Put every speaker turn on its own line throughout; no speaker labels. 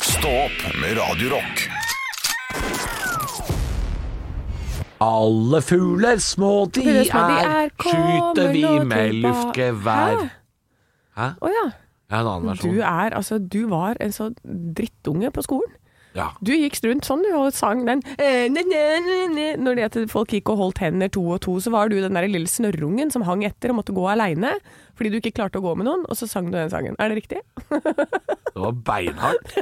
Stå opp med Radio Rock.
Alle fugler små de
Fugler små de
er,
er,
skyter
kommer
vi
nå
med
tilba-
luftgevær. Hæ?
Hæ? Å ja.
Jeg har en annen versjon.
Du er altså Du var en sånn drittunge på skolen.
Ja.
Du gikk rundt sånn du, og sang den eh, ne, ne, ne, ne. Når det at folk gikk og holdt hender to og to, så var du den der lille snørrungen som hang etter og måtte gå aleine fordi du ikke klarte å gå med noen, og så sang du den sangen. Er det riktig?
Det var beinhardt.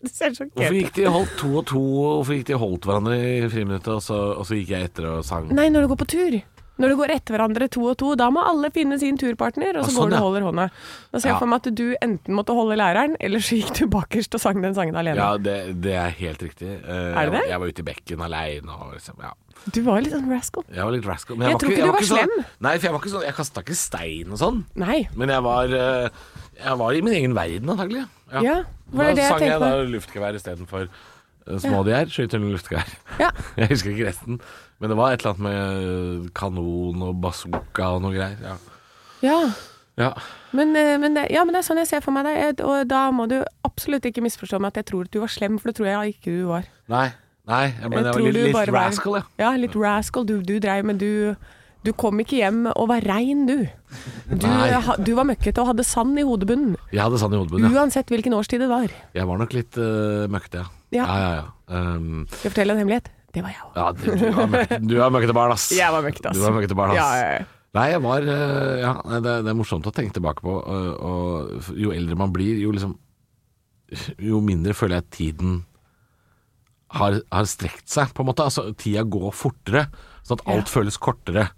Du ser sjokkert
Hvorfor gikk de holdt to og to, og hvorfor gikk de holdt hverandre i friminuttet, og så, og så gikk jeg etter og sang?
Nei, når du går på tur. Når du går etter hverandre to og to, da må alle finne sin turpartner, og
Ah,
så
sånn,
går du
ja.
og holder hånda. Da ser
Ja.
jeg for meg at du enten måtte holde læreren, eller så gikk du bakerst og sang den sangen alene.
Ja, det, det er helt riktig. Eh,
det det?
Jeg, var ute i bekken aleine og liksom, ja.
Du var litt sånn rascal.
Jeg var litt rascal. Men
Jeg tror ikke du var
sånn,
slem.
Nei, for jeg var ikke sånn Jeg kasta ikke stein og sånn.
Nei.
Men jeg var, eh, jeg var i min egen verden, antagelig.
Ja, var det
da
det jeg
sang jeg
tenkte
da
meg?
luftgevær istedenfor eh, små de er, skyter en luftgevær.
Ja.
Jeg husker ikke resten, men det var et eller annet med eh, kanon og bazooka og noe greier. Ja.
Ja.
Ja.
Men, eh, men, det, ja, men det er sånn jeg ser for meg deg, Ed, og da må du absolutt ikke misforstå meg at jeg tror at du var slem, for det tror jeg ikke du var.
Nei, nei, jeg, men jeg,
tror
var litt,
du bare
litt
var-
rascal, ja.
Ja, litt rascal. Du, du dreiv, men du, du kom ikke hjem og var rein, du. Du,
Nei.
ha, du var møkkete og hadde sand i hodebunnen,
Jeg hadde sand i hodebunnen, ja.
uansett hvilken årstid det var.
Jeg var nok litt eh, møkkete, ja.
Ja.
ja, ja, ja. Um,
Skal jeg fortelle en hemmelighet? Det var jeg òg.
ja du, du var møkkete- du var møkkete barn, ass.
Jeg var møkkete, ass.
Du var møkkete barn, ass.
Ja, ja, ja.
Nei, jeg var eh, Ja, nei, det, det er morsomt å tenke tilbake på. eh, Og jo eldre man blir, jo liksom Jo mindre føler jeg at tiden har, har strekt seg, på en måte. Altså, tida går fortere, sånn at alt føles kortere.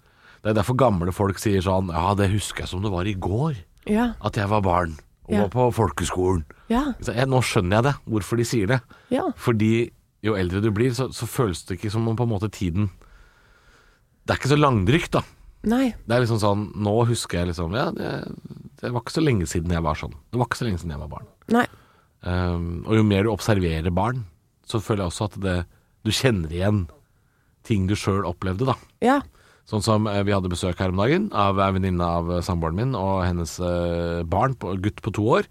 Det er derfor gamle folk sier sånn Ja, det husker jeg som det var i går.
Ja.
At jeg var barn og
Ja.
var på folkeskolen.
ja.
Så jeg, nå skjønner jeg det, hvorfor de sier det.
Ja.
Fordi jo eldre du blir, så, så føles det ikke som om på en måte tiden Det er ikke så langdrygt, da.
Nei.
Det er liksom sånn Nå husker jeg liksom Ja, det, det var ikke så lenge siden jeg var sånn. Det var ikke så lenge siden jeg var barn.
Nei.
Um, og jo mer du observerer barn, så føler jeg også at det Du kjenner igjen ting du sjøl opplevde, da.
Ja.
Sånn som eh, vi hadde besøk her om dagen av ei venninne av eh, samboeren min og hennes eh, barn, på, gutt på to år.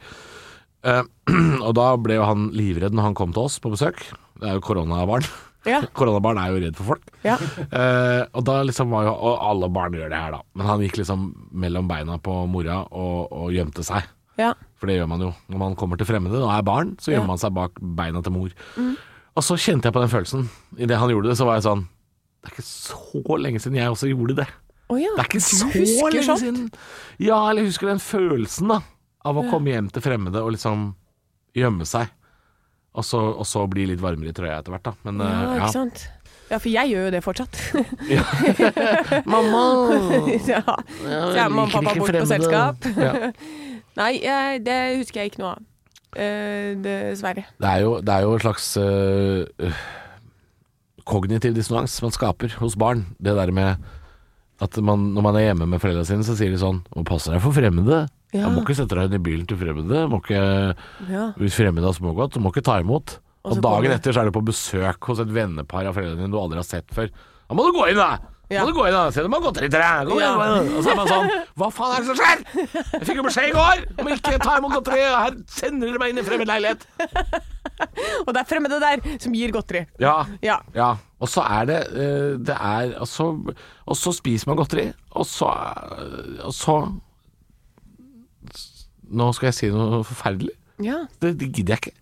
Eh, og da ble jo han livredd når han kom til oss på besøk. Det er jo koronabarn.
Ja.
koronabarn er jo redd for folk.
Ja.
Eh, og da liksom var jo Og alle barn gjør det her, da. Men han gikk liksom mellom beina på mora og, og gjemte seg.
Ja.
For det gjør man jo når man kommer til fremmede og er barn, så gjemmer
Ja. Mm.
man seg bak beina til mor. Og så kjente jeg på den følelsen. Idet han gjorde det, så var jeg sånn Det er ikke så lenge siden jeg også gjorde det.
Å ja.
Det er ikke
Du
så
husker
lenge
sånt.
siden. Ja, eller jeg husker den følelsen da av å komme hjem til fremmede og liksom gjemme seg. Og så, og så bli litt varmere i trøya etter hvert, da. Men
Ja,
eh,
ikke sant. Ja, for jeg gjør jo det fortsatt.
ja. Mamma!
ja. Så er mamma og pappa bort på selskap.
Ja.
Nei, eh, det husker jeg ikke noe av. Eh, dessverre.
Det, er jo, det er jo en slags eh, øh, kognitiv dissonans man skaper hos barn. Det der med at man, når man er hjemme med foreldra sine, så sier de sånn Å, passe deg for fremmede.
Ja.
Jeg må ikke sette deg inn i bilen til fremmede. Må ikke
Ja.
Hvis fremmede har smågodt, så må ikke ta imot.
Og
Og,
så
dagen
kommer-
etter så er du på besøk hos et vennepar av foreldrene dine du aldri har sett før. Da må du gå inn, da!
Ja.
Må du gå inn da, Se om de har godteri til deg! Kom igjen,
Ja.
kom igjen. Og så er man sånn Hva faen er det som skjer?! Jeg fikk jo beskjed i går om ikke å ta imot godteri, og her sender dere meg inn i fremmed leilighet!
Og det er fremmede der som gir godteri.
Ja.
Ja.
ja. Og så er det eh, Det er altså Og så spiser man godteri, og så eh, Og så Nå skal jeg si noe forferdelig.
Ja.
det, det gidder jeg ikke.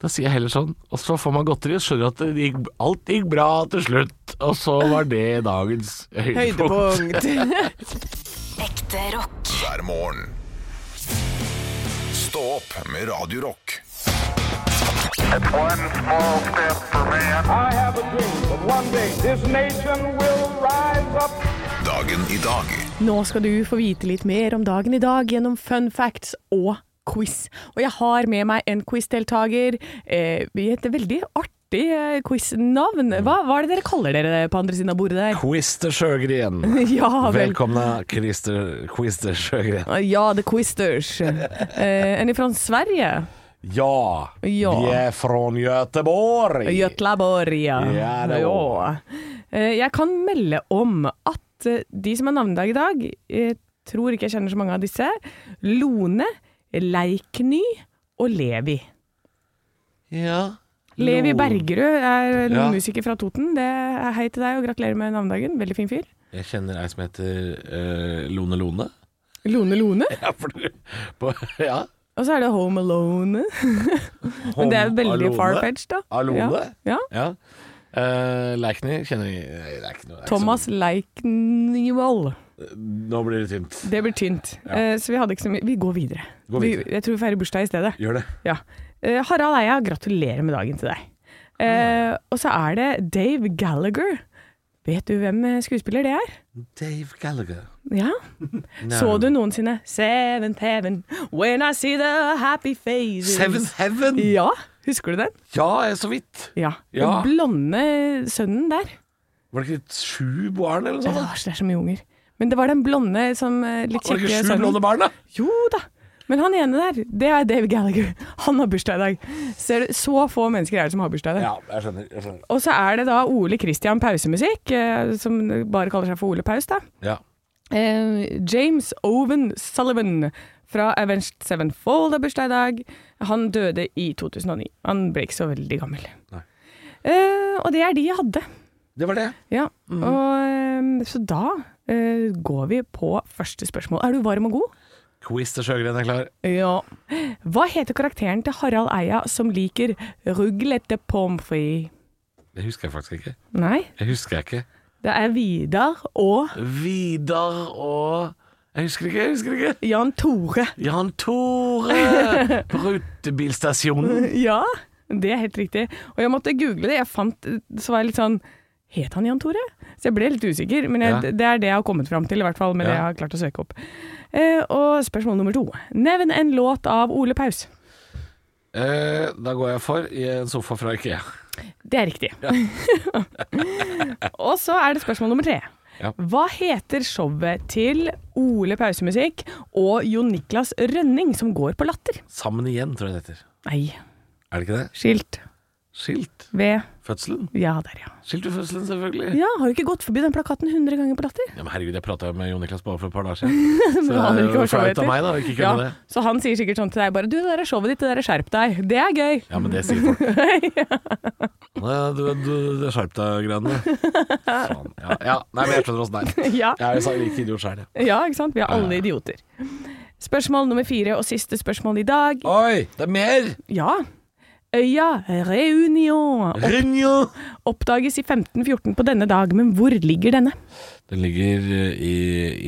Da sier jeg heller sånn, og så får man godteri og skjønner at det gikk, alt gikk bra til slutt. Og så var det dagens høydepunkt.
Høydepunkt.
Ekte rock.
hver morgen. Stå opp med Radio Rock.
One small step for man.
I have a dream that one day this nation will rise up.
Dagen i dag
Nå skal du få vite litt mer om dagen i dag gjennom fun facts og quiz. Og jeg har med meg en quizdeltaker eh, i et veldig artig eh, quiznavn.
Mm.
Hva, hva er det dere kaller dere på andre siden av bordet der?
Quister Sjøgren.
Ja vel. Ah,
Velkomna, Christer Quister Sjøgren.
Ja, The Quisters. Eh, en fra Sverige.
Ja,
Ja.
vi er fra Göteborg.
Göteborg.
Ja, det er
Ja. Eh, Jeg kan melde om at eh, de som har navnedag i eh, dag, jeg tror ikke jeg kjenner så mange av disse, Lone, Leikny og Levi.
Ja.
Levi
Lo-
Bergerud er en
Ja.
musiker fra Toten. Det er Hei til deg og gratulerer med navnedagen. Veldig fin fyr.
Jeg kjenner ei som heter eh, Lone Lone.
Lone Lone.
Ja, for du på, Ja.
Og så er det Home Alone. Men det er jo veldig
Alone.
far-fetched, da.
Alone?
Ja. ja.
Ja. Eh, Leikny kjenner vi Nei, sånn- det er ikke noe- det er ikke
Thomas Leiknivall.
så- Nå blir det tynt.
Det blir tynt. Eh, så vi hadde ikke så mye Vi går videre.
Gå videre.
Vi, jeg tror vi feirer bursdag i stedet.
Gjør det.
Ja. Eh, Harald Eia, gratulerer med dagen til deg. Eh, og så er det Dave Gallagher. Vet du hvem eh, skuespiller det er?
Dave Gallagher.
Ja. Så du noensinne Seventh Heaven, When I See The Happy Faces
Seven Heaven?
Ja, husker du den?
Ja, jeg er så vidt.
Ja.
Ja.
Den blonde sønnen der.
Var det ikke sju barn eller noe
Det
sånt? da?
var, det er så mye unger. Men det var den blonde som eh, litt
Var det
kjekke
ikke sju
sønnen.
blonde barn, da?
Jo da. Men han ene der, det er Dave Gallagher. Han har bursdag i dag. Ser du, så få mennesker er det som har bursdag i dag.
Ja, jeg skjønner. Jeg skjønner.
Og så er det da Ole Christian Pausemusikk, eh, som bare kaller seg for Ole Paus, da.
Ja.
Eh, James Owen Sullivan fra Avenged Sevenfold har bursdag i dag. Han døde i 2009. Han ble ikke så veldig gammel.
Nei.
Eh, og det er de jeg hadde.
Det var det.
Ja. Og, eh, så da eh, går vi på første spørsmål. Er du varm og god?
Quiz til Sjøgren er klar.
Ja. Hva heter karakteren til Harald Eia som liker ruglete pommes frites?
Det husker jeg faktisk ikke.
Nei,
Jeg husker jeg ikke.
det er Vidar og
Vidar og Jeg husker ikke, jeg husker ikke.
Jan Tore.
Jan Tore på rutebilstasjonen.
Ja, det er helt riktig. Og jeg måtte google det. Jeg fant, så var jeg litt sånn Het han Jan Tore? Så jeg ble litt usikker, men jeg,
Ja.
det er det jeg har kommet fram til, i hvert fall med
Ja.
det jeg har klart å søke opp. Eh, og spørsmål nummer to. Nevn en låt av Ole Paus.
Eh, da går jeg for i en sofa fra Ikea.
Det er riktig. og så er det spørsmål nummer tre.
Ja.
Hva heter showet til Ole Pausemusikk og Jon Niklas Rønning som går på Latter?
Sammen igjen, tror jeg det heter.
Nei,
Er det ikke det?
skilt
Skilt
ved
fødselen.
Ja, der, ja.
Skilt ved fødselen, selvfølgelig.
Ja, Har du ikke gått forbi den plakaten 100 ganger på Latter?
Ja, men herregud, jeg prata med Jon Niklas bare for et par dager siden. Så
han
det er
ikke
jo
var så
flaut av
etter.
meg da, å ikke kunne
Ja,
det.
så han sier sikkert sånn til deg bare Du, det der er showet ditt, det der er skjerp deg. Det er gøy.
Ja, men det sier folk. Nei, du, du, det skjerp deg-greiene. Faen. Ja, ja. Nei, men jeg skjønner åssen det er.
Ja.
Jeg er jo så like idiot sjøl, jeg.
ja, ikke sant? Vi er alle idioter. Spørsmål nummer fire og siste spørsmål i dag.
Oi, det er mer!
Ja. Øya Reunion
Rinjo!
oppdages i 1514 på denne dag, men hvor ligger denne?
Den ligger eh, i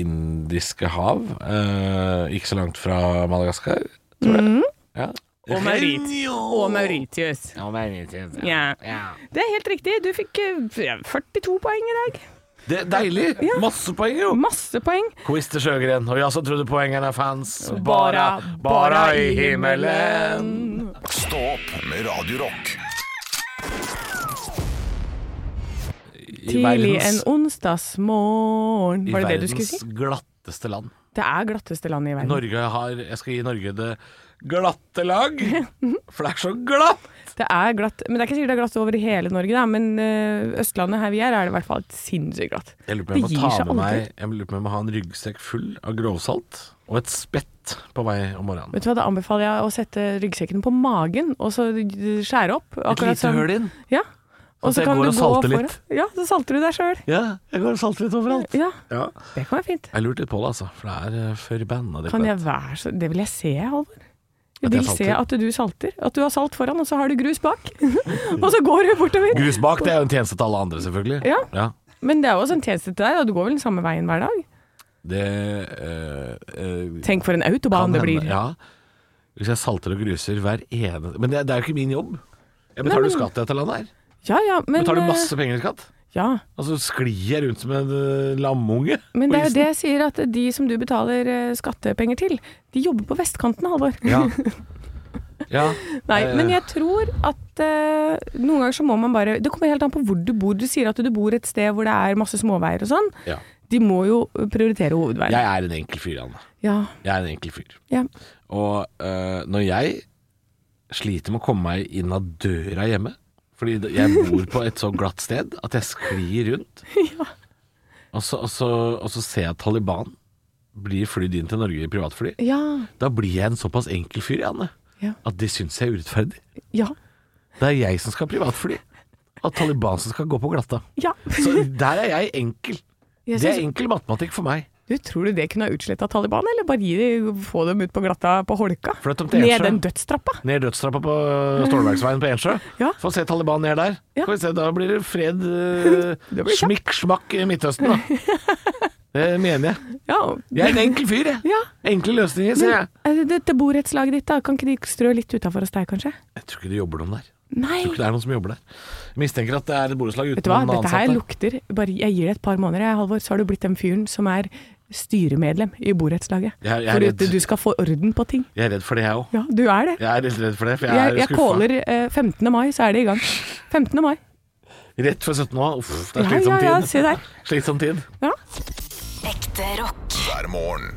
indiske hav, eh, ikke så langt fra Madagaskar, tror
Mm.
jeg. Ja.
Og Maurit- Og Mauritius.
Og Mauritius.
Ja. Det er helt riktig. Du fikk eh, 42 poeng i dag.
Det er deilig! Masse poeng, jo!
Masse poeng.
Quiz til Sjøgren, og jeg som trodde poengene fanns
Stå opp med Radio Rock.
I
Tidlig
verdens-
en onsdagsmorgen.
i
Var det det du skulle si?
verdens glatteste land.
Det er glatteste landet i verden.
Norge har Jeg skal gi Norge det glatte lag, for det er så glatt!
Det er glatt, men det er ikke sikkert det er glatt over i hele Norge, da. men eh, Østlandet her vi er, er det i hvert fall sinnssykt glatt.
Jeg lurer på om
Det
jeg må
gir
ta
seg
med
aldri.
meg Jeg lurer på om jeg må ha en ryggsekk full av grovsalt og et spett på vei om morgenen.
Vet du hva, Da anbefaler jeg å sette ryggsekken på magen og så skjære opp.
Et lite høl inn.
Ja. Og
at
så
jeg
kan
går
du
og
gå
salter
foran.
litt.
Ja, så salter du deg sjøl.
Ja, jeg går og salter litt overalt.
Ja,
Ja.
det kan være fint.
Jeg lurte litt på det, altså, for det er eh, forbanna
Kan jeg
dritt.
være så Det vil jeg se, Halvor. Jeg
At jeg
vil se
salter?
at du salter. At du har salt foran, og så har du grus bak. og så går du bortover.
Grus bak, det er jo en tjeneste til alle andre, selvfølgelig.
Ja.
ja.
Men det er jo også en tjeneste til deg, da. Du går vel den samme veien hver dag?
Det eh, eh,
Tenk for en autobahn det blir.
Ja. Hvis jeg salter og gruser hver ene Men det, det er jo ikke min jobb. Jeg betaler
Nei, men-
jo skatt i dette landet her.
Ja, ja, men
Betaler
eh,
masse penger i skatt.
Ja.
Og så sklir jeg rundt som en eh, lamunge.
Men
på
det er jo
isen.
det jeg sier, at de som du betaler eh, skattepenger til, de jobber på vestkanten, Halvor.
Ja. ja.
Nei,
Eh,
men jeg tror at eh, noen ganger så må man bare Det kommer helt an på hvor du bor. Du sier at du bor et sted hvor det er masse småveier og sånn.
ja.
De må jo prioritere hovedveien.
Jeg er en enkel fyr, Anne.
Ja.
Jeg er en enkel fyr.
ja.
Og eh, når jeg sliter med å komme meg inn av døra hjemme, fordi det- jeg bor på et så glatt sted at jeg sklir rundt, og, så, og, så, og så ser jeg at Taliban blir flydd inn til Norge i privatfly,
Ja.
da blir jeg en såpass enkel fyr, Anne.
Ja.
at det syns jeg er urettferdig.
Ja.
Det er jeg som skal ha privatfly, og Taliban som skal gå på glatta.
ja.
Så der er jeg enkel.
Jeg
Det er
synes-
enkel matematikk for meg.
du, tror du det kunne ha utsletta Taliban, eller bare gi de, få dem ut på glatta på holka?
For at de til
Ned
Ensjø-
den dødstrappa?
Ned dødstrappa på Stålverksveien på Ensjø.
Ja.
Få se Taliban ned der.
Ja.
Skal vi se, da blir det fred, eh,
Det blir kjapt.
smikk, smakk i Midtøsten, da. Det mener jeg.
Ja.
Jeg er en enkel fyr, jeg.
ja.
Enkle løsninger, sier jeg.
Men, eh, dette borettslaget ditt, da, kan ikke de strø litt utafor hos deg, kanskje?
Jeg tror ikke det jobber noen der.
Nei!
Jeg tror ikke det er noen som jobber der. Jeg mistenker at det er et borettslag uten
Vet du hva,
noen
dette her
ansatte.
lukter bare, Jeg gir det et par måneder, jeg, Halvor, så har du blitt den fyren som er styremedlem i borettslaget.
Jeg er- jeg er
For
redd.
du, du skal få orden på ting.
Jeg er redd for det, jeg òg.
Ja, du er det.
Jeg er litt redd for det, for jeg,
Jeg, jeg
er skuffa.
caller eh, 15. mai, så er det i gang. 15. mai.
Rett før 17 år. Uff, det er
Ja, ja,
slitsom
ja,
tid.
se der.
Slitsom tid.
Ja.
Ekte rock.
hver morgen.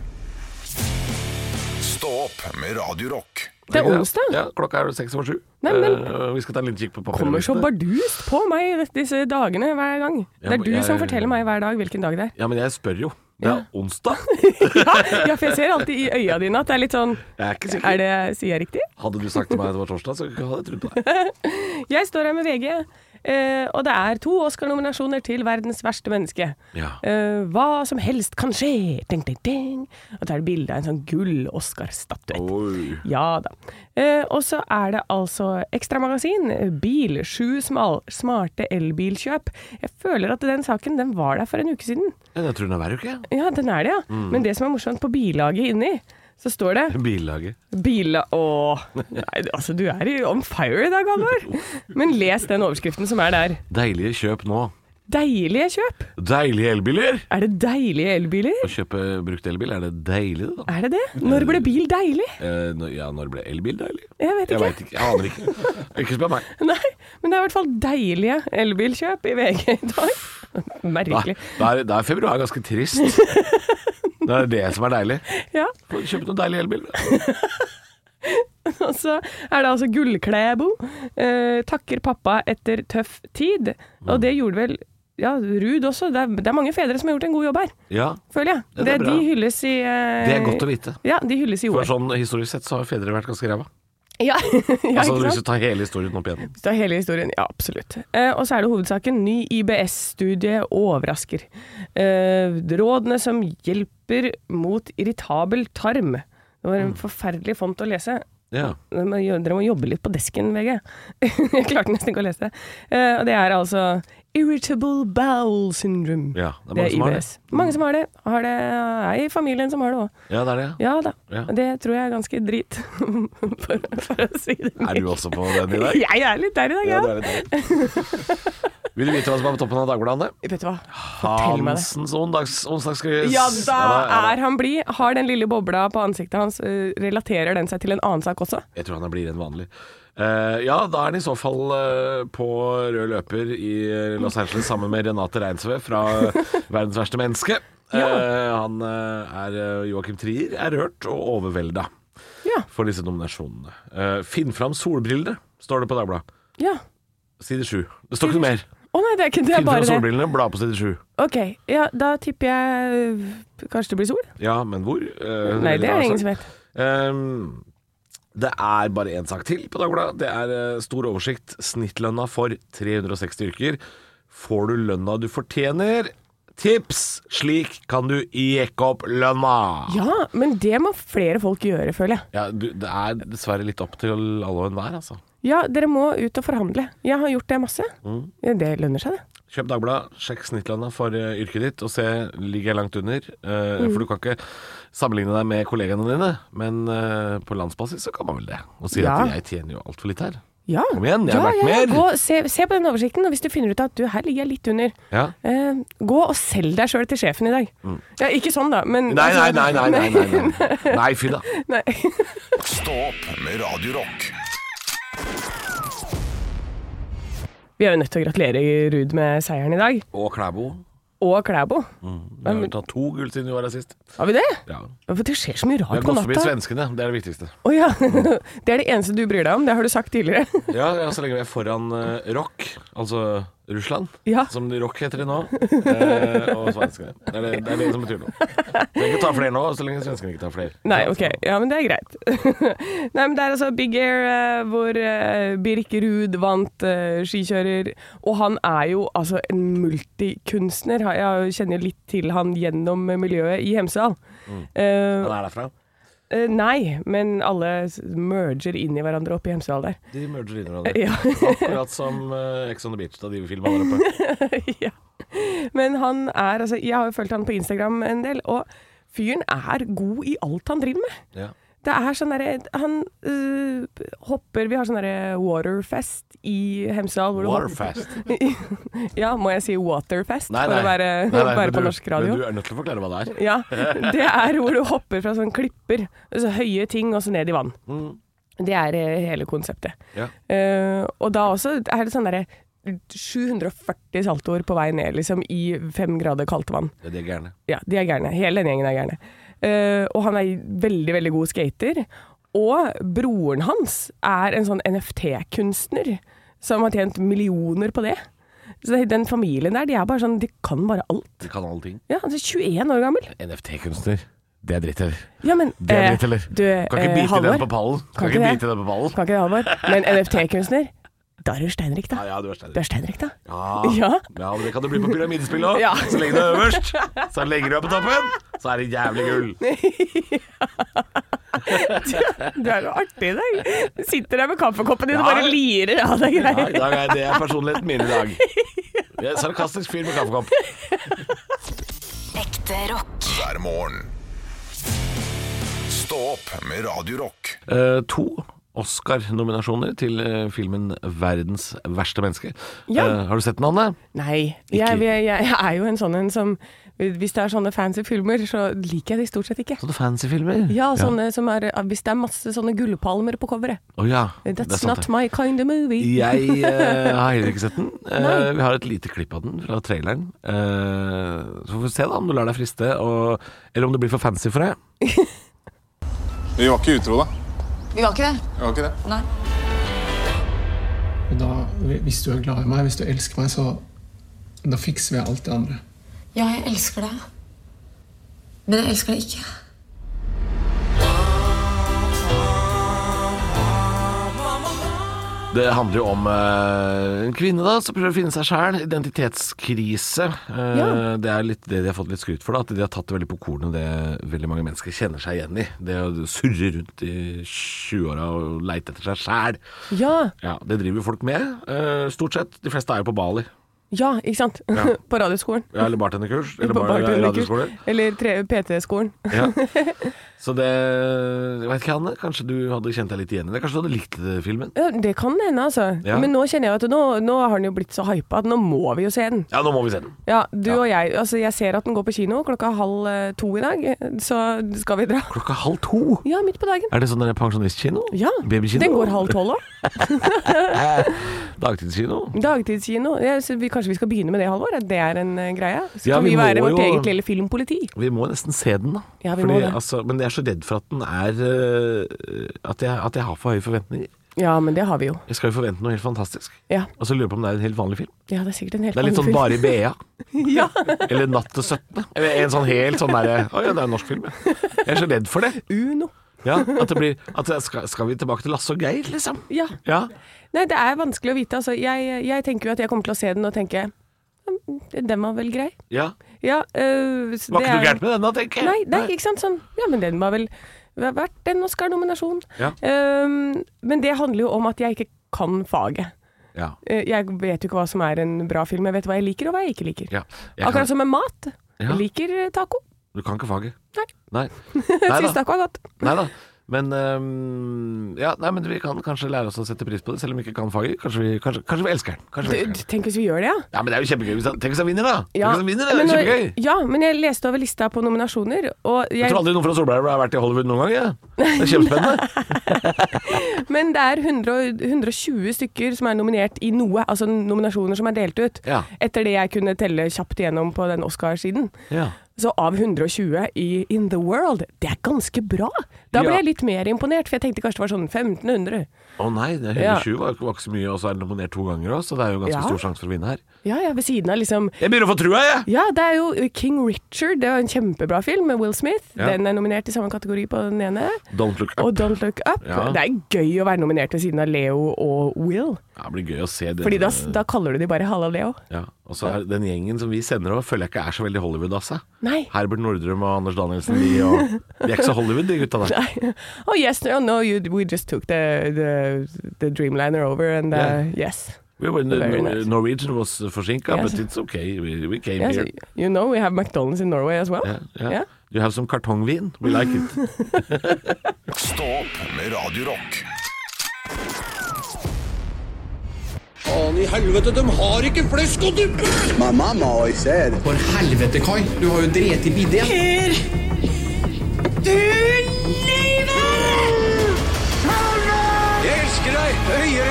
Stå opp med Radio Rock.
Det er onsdag.
Ja, klokka er seks over sju.
Nei, men-
Eh, vi skal ta en liten kikk på papirlistene.
Kommer så bardust på meg i dette- disse dagene hver gang. Det er du
jeg-
som forteller meg hver dag hvilken dag det er.
Ja, men jeg spør jo. Det er onsdag.
Ja, ja, for jeg ser alltid i øya dine at det er litt sånn
Jeg er ikke sikker.
Er det Sier jeg riktig?
Hadde du sagt til meg at det var torsdag, så hadde jeg trodd på deg.
Jeg står her med VG, eh, og det er to Oscar-nominasjoner til verdens verste menneske.
Ja.
Eh, hva som helst kan skje! Ding, ding, ding. Og så er det bilde av en sånn gull Oscar-statuett.
Oi.
Ja da. Eh, og så er det altså Ekstramagasin, bil, sju smal, smarte elbilkjøp. Jeg føler at den saken den var der for en uke siden.
Ja, Jeg tror den er hver uke, jeg.
Ja, den er det, ja. Men det som er morsomt, på billaget inni, så står det
Billaget.
Bila... Åh. Nei, altså, du er i- on fire i dag, Halvor. Men les den overskriften som er der.
Deilige kjøp nå.
Deilige kjøp.
Deilige elbiler!
Er det deilige elbiler?
Å kjøpe brukt elbil, er det deilig, det da?
Er det det? Når ble bil deilig?
Eh, når- ja, når ble elbil deilig?
Jeg vet
Jeg
ikke.
veit ikke. Jeg aner ikke. Ikke spør meg.
Nei, men det er i hvert fall deilige elbilkjøp i VG i dag.
Da,
Merkelig.
da, er, da er februar ganske trist. Det er det som er deilig.
Ja,
Få kjøpe noen deilige elbiler.
og så er det altså Gullklæbo. Eh, takker pappa etter tøff tid. Og
Mm.
det gjorde vel ja, Ruud også. Det er, det er mange fedre som har gjort en god jobb her,
Ja,
føler jeg.
Ja, det
det
er bra.
de hylles i eh,
det er godt å vite.
Ja, de hylles i
For
OL.
sånn Historisk sett så har fedre vært ganske ræva.
Ja, ja
Altså,
ikke
hvis
sant?
du tar hele historien opp igjen.
Det er hele historien. Ja, absolutt. Eh, og så er det hovedsaken. Ny IBS-studie overrasker. Eh, rådene som hjelper mot irritabel tarm. Det var
Mm.
en forferdelig font å lese.
Ja.
Dere må, gjø- dere må jobbe litt på desken, VG. Jeg klarte nesten ikke å lese det. Eh, og det er altså Irritable bowel syndrome.
Ja, det er mange som har det. Mm.
Mange som har det. Har det er i familien som har det òg.
ja, det er det.
Ja da.
Ja.
Det tror jeg er ganske drit, for, for å si det
Er du også på den i dag?
Jeg er litt der i dag, ja.
det er litt deilig. Vil du vite hva som er på toppen av Dagbladet? Anne?
Vet du hva? Fortell meg det.
Hansens ondags, onsdagsquiz.
Ja da,
ja da.
er han blid. Har den lille bobla på ansiktet hans, eh, relaterer den seg til en annen sak også?
Jeg tror han er blidere enn vanlig. Eh, ja, da er han i så fall eh, på rød løper i eh, Los Angeles sammen med Renate Reinsve fra Verdens verste menneske. Eh, han eh, er eh, Joakim Trier er rørt og overvelda
Ja.
for disse nominasjonene. Eh, finn fram solbrillene, står det på Dagbladet.
ja.
Side sju. Det står ikke noe mer.
Å nei, det er ikke det, er
Finn fram
bare det.
solbrillene, bla på side sju.
Ok, ja, da tipper jeg øh, Kanskje det blir sol?
Ja, men hvor? Eh,
Nei,
veldig bra
det er det
sagt.
ingen som vet.
Ehm, det er bare én sak til på Dagbladet. Det er eh, stor oversikt. Snittlønna for 360 yrker. Får du lønna du fortjener? Tips! Slik kan du jekke opp lønna!
Ja, men det må flere folk gjøre, føler jeg.
Ja, du, det er dessverre litt opp til alle og enhver, altså.
Ja, dere må ut og forhandle. Jeg har gjort det masse.
Mm.
Ja, Det lønner seg, det.
Kjøp Dagbladet, sjekk snittlønna for eh, yrket ditt, og se ligger jeg langt under. Eh,
Mm.
For du kan ikke sammenligne deg med kollegaene dine, men eh, på landsbasis så kan man vel det. Og si
Ja.
at jeg tjener jo altfor litt her.
Ja.
Kom igjen, jeg har
ja,
vært
ja, ja.
mer.
Gå, se, se på den oversikten, og hvis du finner ut at du, her ligger jeg litt under,
Ja.
eh, gå og selg deg sjøl til sjefen i dag. Ja, ikke sånn, da, men
Mm. Nei, nei, nei, nei, nei, nei, nei. nei fy da.
nei.
Stå opp med Radio Rock.
Vi er jo nødt til å gratulere Ruud med seieren i dag.
Og Klæbo.
Og Klæbo.
Vi har vel tatt to gull siden vi var her sist.
Har vi det?
Ja.
Hvorfor det skjer så mye
Vi
rart
har
på
gått forbi
natta?
svenskene, det er det viktigste.
Å ja. Det er det eneste du bryr deg om, det har du sagt tidligere.
Ja, ja så lenge vi er foran eh, rock, altså Russland,
Ja.
som de rock heter de nå, eh, og svenskene. Det er det, det er det som betyr noe. Trenger ikke ta flere nå, så lenge svenskene ikke tar flere.
Nei, ok. Ja, men det er greit. Nei, men det er altså Big Air eh, hvor eh, Birk Ruud vant eh, skikjører, og han er jo altså en multikunstner. Ha- Jeg kjenner litt til han gjennom eh, miljøet i Hemsedal. Eh,
Mm. Han er derfra.
eh, nei, men alle s- merger inn i hverandre oppe i Hemsedal der.
De merger inn i hverandre.
Ja.
Akkurat som eh, Ex on the Beach da de filma der oppe.
ja. Men han er altså Jeg har jo fulgt han på Instagram en del, og fyren er god i alt han driver med.
Ja.
Det er sånn derre Han øh, hopper Vi har sånn derre waterfest i Hemsedal. hvor du hopper-
Waterfest.
ja, må jeg si waterfest
Nei, nei.
for å være,
Nei, nei, men
være på
du-
norsk radio?
Men du er nødt til å forklare hva det er.
Ja, det er hvor du hopper fra sånne klipper, altså høye ting, og så ned i vann. Det er eh, hele konseptet.
Ja.
Eh, og da også er det sånn derre 740 saltoer på vei ned, liksom, i fem grader kaldt vann.
Det er de gærne.
Ja, de er gærne. Hele den gjengen er gærne. Eh, og han er veldig, veldig god skater. Og broren hans er en sånn NFT-kunstner som har tjent millioner på det. Så det- den familien der, de er bare sånn De kan bare alt.
De kan alle ting.
Ja, altså 21 år gammel.
NFT-kunstner. Det er dritt, eller?
Ja, men
Det er
eh,
dritt, eller?
Du,
kan ikke
eh,
bite
Halvor?
den på pallen. Kan,
Kan
ikke
ikke det.
bite den på pallen.
Kan ikke det, Halvor? Men NFT-kunstner? Da er du steinrik, da.
Ja, Ah, ja, du er
Du
steinig.
er steinrik, da.
Ja.
Ja.
Ja, men det kan du bli på pyramidespill òg.
Ja.
Så lenge du er øverst, så legger du deg på toppen, så er det jævlig gull.
Du er jo artig i dag. Du sitter der med kaffekoppen din og
Ja.
bare lirer av deg
Ja, i
greier.
dag er det er personligheten min i dag. Jeg er en sarkastisk fyr med kaffekopp.
Ekte rock.
hver morgen. Stå opp med Radio Rock.
Eh, to Oscar-nominasjoner til eh, filmen 'Verdens verste menneske'.
Ja.
Eh, har du sett den, Anne?
Nei. Jeg, jeg, jeg er jo en sånn en som Hvis det er sånne fancy filmer, så liker jeg de stort sett ikke.
Sånne fancy filmer?
Ja, sånne som er eh, Hvis det er masse sånne gullpalmer på coveret.
Å ja, det er
That's
sant
not
det.
my kind of movie.
Jeg eh, har heller ikke sett den. Eh,
Nei.
vi har et lite klipp av den fra traileren. Eh, så får vi se da om du lar deg friste, og, eller om det blir for fancy for deg.
Vi var ikke utro, da.
Vi var ikke det.
Vi var ikke det.
Og da, hvis du er glad i meg, hvis du elsker meg, så da fikser vi alt det andre.
Ja, jeg elsker deg. Men jeg elsker deg ikke.
Det handler jo om eh, en kvinne da som prøver å finne seg sjæl. Identitetskrise. Eh,
Ja.
Det er litt det de har fått litt skryt for. da At de har tatt det veldig på kornet, det veldig mange mennesker kjenner seg igjen i. Det å surre rundt i 20-åra og leite etter seg sjæl.
Ja,
Ja, det driver jo folk med, eh, stort sett. De fleste er jo på Bali.
ja, ikke sant?
Ja.
På radioskolen.
Ja, Eller bartenderkurs. Eller
På
bar
bartenderkurs.
radioskoler.
Eller tre- PT-skolen.
Ja. Så det Jeg vet ikke, Hanne. Kanskje du hadde kjent deg litt igjen i det? Kanskje du hadde likt eh, filmen?
Ja, det kan hende, altså.
Ja.
Men nå kjenner jeg at nå, nå har den jo blitt så hypa at nå må vi jo se den.
Ja, nå må vi se den.
Ja, du og jeg. Altså, jeg ser at den går på kino klokka halv eh, to i dag, så skal vi dra.
Klokka halv to.
Ja, midt på dagen.
Er det sånn der pensjonistkino?
Ja,
Babykino? Eh,
den går halv tolv òg.
Dagtidskino?
Dagtidskino. Jeg synes vi, kanskje vi skal begynne med det, Halvor? at Det er en eh, greie? Så
Ja,
kan
vi
vi,
må
være vårt
jo-
eget lille filmpoliti?
Vi må nesten se den, da.
Ja, vi
Fordi,
må det.
Altså, men jeg er så redd for at den er øh, at, jeg, at jeg har for høye forventninger.
Ja, men det har vi jo.
Jeg skal jo forvente noe helt fantastisk.
Ja,
Og så lurer jeg på om det er en helt vanlig film.
ja det er sikkert en helt
Det er litt
vanlig
sånn
film.
Bare i BA.
Ja.
Eller Natt til 17. Eller en sånn helt sånn derre Å ja, det er en norsk film, ja. Jeg er så redd for det.
Uno.
Ja, at det blir at det skal, skal vi tilbake til Lasse og Geir, liksom?
Ja.
Ja.
Nei, det er vanskelig å vite. Altså, jeg, jeg tenker jo at jeg kommer til å se den og tenke "Mm, Den var vel grei.
ja.
Ja, øh, så
Var
det
ikke noe
er-
gærent med den da, tenker jeg.
Nei, nei, ikke sant. Sånn. Ja, men den var vel verdt en Oscar-nominasjon.
Ja.
Ehm, men det handler jo om at jeg ikke kan faget.
Ja.
Eh, Jeg vet jo ikke hva som er en bra film. Jeg vet hva jeg liker, og hva jeg ikke liker.
ja. Jeg
Akkurat
Kan,
som med mat.
Ja.
Jeg liker øh, taco.
du kan ikke faget.
Nei.
Nei.
Jeg
Nei
syns
da.
taco er godt.
Nei da. Men, øhm, ja, nei, men vi kan kanskje lære oss å sette pris på det, selv om vi ikke kan faget. Kanskje vi, kanskje, kanskje vi elsker den. Kanskje vi
Du,
elsker
du,
den.
tenk hvis vi gjør det, ja.
Ja, men det er jo kjempegøy. hvis han- Tenk hvis han vinner, da! Tenk
Ja,
hvis han vinner, det er
men,
jo
når-
kjempegøy.
ja, men jeg leste over lista på nominasjoner, og
Jeg
jeg
tror aldri noen fra Solberg har vært i Hollywood noen gang. Ja. Det er kjempespennende.
Men det er 100, og- 120 stykker som er nominert i noe, altså nominasjoner som er delt ut.
Ja.
Etter det jeg kunne telle kjapt igjennom på den Oscar-siden.
Ja.
Så av 120 i In the World, det er ganske bra! Da ble
Ja.
jeg litt mer imponert, for jeg tenkte kanskje det var sånn 1500.
Å nei, det er
Ja.
120 var, var ikke så mye, og så er det nominert to ganger òg, så det er jo ganske
Ja.
stor sjanse for å vinne her.
Ja ja, ved siden av liksom
Jeg begynner å få trua, jeg!
Ja, det er jo King Richard, det var en kjempebra film med Will Smith.
Ja.
Den er nominert i samme kategori på den ene.
Don't look
Og
up.
Don't Look Up.
Ja.
Det er gøy å være nominert ved siden av Leo og Will,
Ja, det blir gøy å se det.
Fordi da, da kaller du de bare Halla Leo.
ja. Og så er den gjengen som vi sender over, føler jeg ikke er så veldig Hollywood, altså.
Nei.
Herbert Nordrum og Anders Danielsen, de, og, de er ikke så Hollywood, de gutta der.
Nei. Oh yes, no, no you, we just took the, the, the Dreamliner over and uh,
Yeah.
yes.
We were,
Very nice.
Norwegian was forsinka,
Yes.
but it's okay. We, we came
yes.
here.
You know we have McDonald's in Norway as well.
Yeah, yeah.
Yeah.
You have some kartongvin? We like it.
Stå opp med Radio Rock.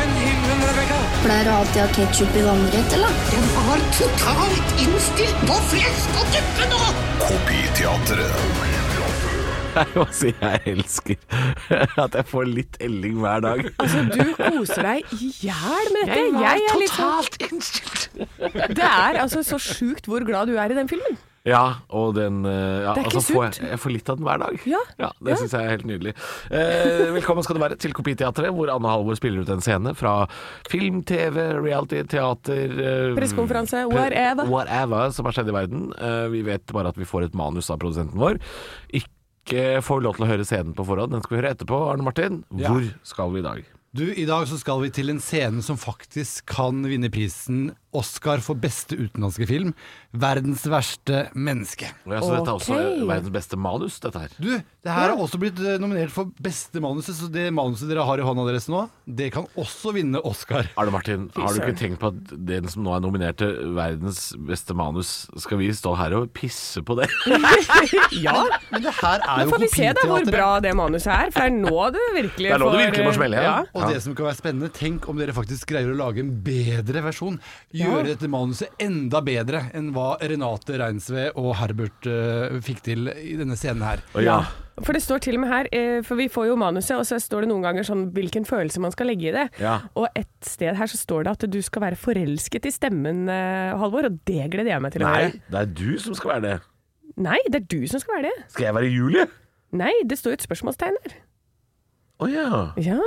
Pleier du alltid å ha ketsjup i vannrett, eller? Den var totalt innstilt på flesk og duppe nå!
Kopiteatret.
Jeg må si jeg elsker at jeg får litt elling hver dag.
Altså, du koser deg i hjel med dette. er litt sånn-
innstilt.
Det er altså så sjukt hvor glad du er i den filmen.
Ja, og den eh, ja,
Det er ikke
altså får
sunt.
jeg, jeg får litt av den hver dag.
Ja,
Det
ja.
syns jeg er helt nydelig. Eh, velkommen skal du være til Kopiteatret, hvor Anne Halvor spiller ut en scene fra film, TV, reality, teater eh,
Pressekonferanse, E,
pre-
whatever.
Whatever som har skjedd i verden. Eh, vi vet bare at vi får et manus av produsenten vår. Ikke får vi lov til å høre scenen på forhånd, den skal vi høre etterpå. Arne Martin,
Ja.
hvor skal vi i dag?
Du, I dag så skal vi til en scene som faktisk kan vinne prisen Oscar for beste utenlandske film. Verdens verste menneske.
Ja, så dette er også
Ok.
verdens beste manus, dette her.
Du, det her har også blitt eh, nominert for beste manuset, så det manuset dere har i hånda deres nå, det kan også vinne Oscar.
Arne Martin, har du
søren.
ikke tenkt på at den som nå er nominert til verdens beste manus, skal vi stå her og pisse på det?
Ja, men det her er
Nå
jo
får vi se da hvor
kopiteatret.
bra det manuset er, for det er nå det virkelig
Det er nå det
får,
virkelig må
eh,
smelle, ja.
ja.
Og det som kan være spennende, tenk om dere faktisk greier å lage en bedre versjon. Gjøre dette manuset enda bedre enn hva Renate Reinsve og Herbert eh, fikk til i denne scenen her.
Og ja,
For det står til og med her, eh, for vi får jo manuset, og så står det noen ganger sånn hvilken følelse man skal legge i det.
Ja.
Og et sted her så står det at du skal være forelsket i stemmen, eh, Halvor, og det gleder jeg meg til
Nei,
å være.
det er du som skal være det.
Nei, det er du som skal være det.
Skal jeg være Julie?
Nei, det står jo et spørsmålstegn der.
Å ja.
Ja.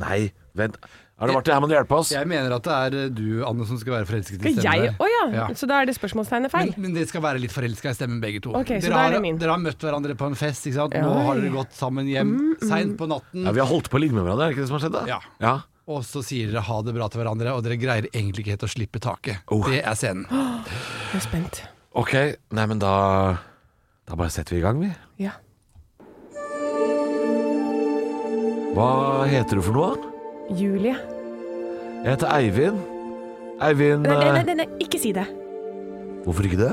Nei, vent. Arne Martin, her må du hjelpe oss.
Jeg mener at det er eh, du, Anne, som skal være forelsket i
Skal
stemmen.
jeg
der.
Å ja.
Ja.
Så da er det spørsmålstegnet feil.
Men, men dere skal være litt forelska i stemmen, begge to.
Ok, så
dere,
da er
har,
det min.
dere har møtt hverandre på en fest, ikke sant.
Ja. Mm,
Nå har dere gått sammen hjem seint på natten.
Ja, vi har holdt på å ligge med hverandre, er det ikke det som har skjedd? da?
Ja.
ja.
Og så sier dere ha det bra til hverandre, og dere greier egentlig ikke helt å slippe taket. Det er scenen.
Jeg er spent.
Ok, nei, men da Da bare setter vi i gang, vi.
Ja.
Hva heter du for noe?
Julie.
Jeg heter Eivind. Eivind
Nei, nei,
eh,
nei, nei, nei, ikke si det.
Hvorfor ikke det?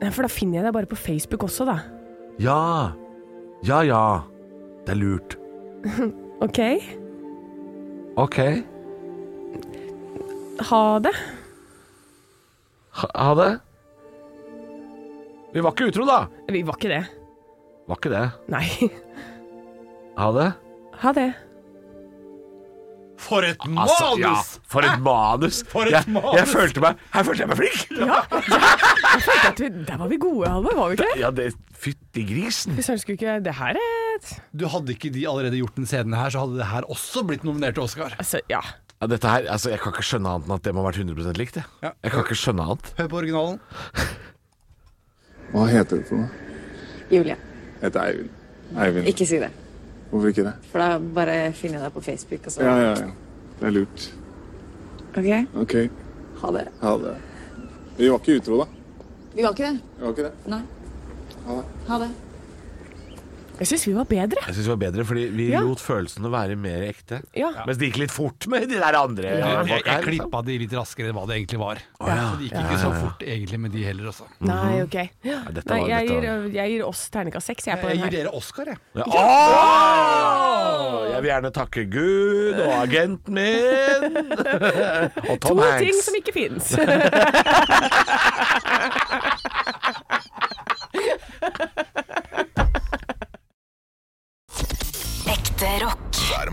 Nei, For da finner jeg deg bare på Facebook også, da.
Ja. Ja ja. Det er lurt.
OK?
Ok.
Ha det.
Ha, ha det. Vi var ikke utro, da.
Vi var ikke det.
Var ikke det.
Nei.
Ha det.
Ha det.
For et
Altså, ja,
manus!
for et manus!
For et
jeg, Jeg
manus!
følte meg, her følte jeg meg flink!
At vi, der var vi gode, Halvor. Var vi ikke det?
Ja, det Fytti grisen!
Vi skulle ikke Det her er et-
Du Hadde ikke de allerede gjort den scenen her, så hadde det her også blitt nominert til Oscar.
Altså, ja.
Ja, dette her, altså, jeg kan ikke skjønne annet enn at det må ha vært 100 likt. Jeg.
Ja.
jeg kan ikke skjønne annet.
Hør på originalen.
Hva heter du for noe?
Julie,
Jeg heter Eivind. Eivind.
ikke si det.
Hvorfor ikke det?
For da bare finner jeg deg på Facebook. Og så.
Ja, ja, ja. Det er lurt.
Ok,
Ok,
ha det.
ha det. Vi var ikke utro, da.
Vi var ikke det.
Vi var ikke det.
Nei.
Ha det.
Ha det.
Jeg syns vi var bedre.
Jeg syns det var bedre, fordi vi
Ja.
lot følelsene være mer ekte.
Ja.
Mens det gikk litt fort med de der andre.
Jeg, jeg, jeg
folka her,
klippa de litt raskere enn hva det egentlig var.
ja.
Så det gikk ikke så fort egentlig med de heller, altså.
Nei, OK.
Mhm. dette
Nei,
var-
jeg,
dette
gir, jeg gir oss terningkast seks, jeg, på
Jeg
den
gir
her.
dere Oscar, jeg.
Ja. Åh! Jeg vil gjerne takke Gud og agenten min og
To
Tom Hanks.
ting som ikke fins.
Ekte rock.
hver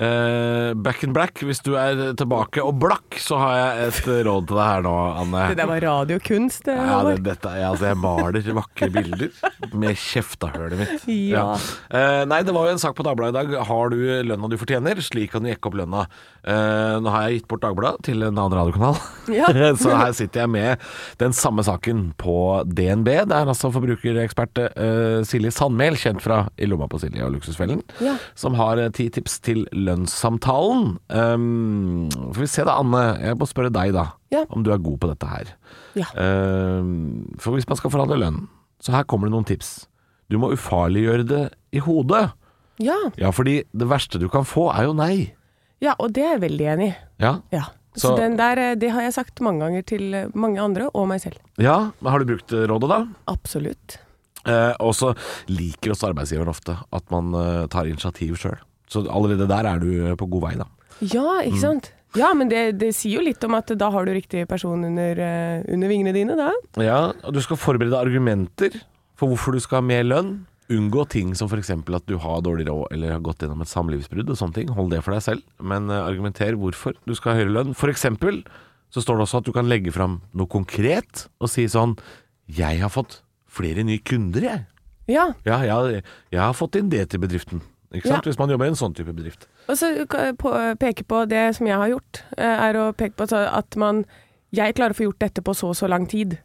Eh, back in black, hvis du er tilbake og blakk, så har jeg et eh, råd til deg her nå, Anne.
Det der var radiokunst, det,
Ja,
Halvor.
det, dette, ja, altså jeg maler vakre bilder med kjeftehølet mitt.
Ja.
Eh, nei, det var jo en sak på Dagbladet i dag. Har du lønna du fortjener? Slik kan du jekke opp lønna. Eh, nå har jeg gitt bort Dagbladet til en annen radiokanal.
Ja.
Så her sitter jeg med den samme saken på DNB. Det er altså forbrukerekspert eh, Silje Sandmæl, kjent fra I lomma på Silje og Luksusfellen,
Ja.
som har eh, ti tips til lønnssamtalen. Um, får vi se da, Anne. Jeg må spørre deg, da.
Ja.
Om du er god på dette her.
Ja.
Ehm, For hvis man skal forhandle lønn, så her kommer det noen tips. Du må ufarliggjøre det i hodet.
Ja.
Ja, fordi det verste du kan få, er jo nei.
ja, og det er jeg veldig enig i.
Ja,
Ja. Så,
Så-
den der, eh, det har jeg sagt mange ganger til eh, mange andre, og meg selv.
ja men har du brukt eh, rådet da?
Absolutt.
Eh, og så liker også arbeidsgiveren ofte at man eh, tar initiativ sjøl. Så allerede der er du eh, på god vei, da.
Ja,
Mm.
ikke sant? Ja, men det, det sier jo litt om at da har du riktig person under, eh, under vingene dine, da.
Ja, og du skal forberede argumenter for hvorfor du skal ha mer lønn. Unngå ting som f.eks. at du har dårlig råd eller har gått gjennom et samlivsbrudd og sånne ting. Hold det for deg selv, men eh, argumenter hvorfor du skal ha høyere lønn. F.eks. så står det også at du kan legge fram noe konkret og si sånn Jeg har fått flere nye kunder, jeg.
Ja.
Ja, jeg, jeg har fått inn det til bedriften. Ikke
Ja.
sant? Hvis man jobber i en sånn type bedrift.
Og så ka- på, peke på det som jeg har gjort, eh, er å peke på så at man Jeg klarer å få gjort dette på så og så lang tid.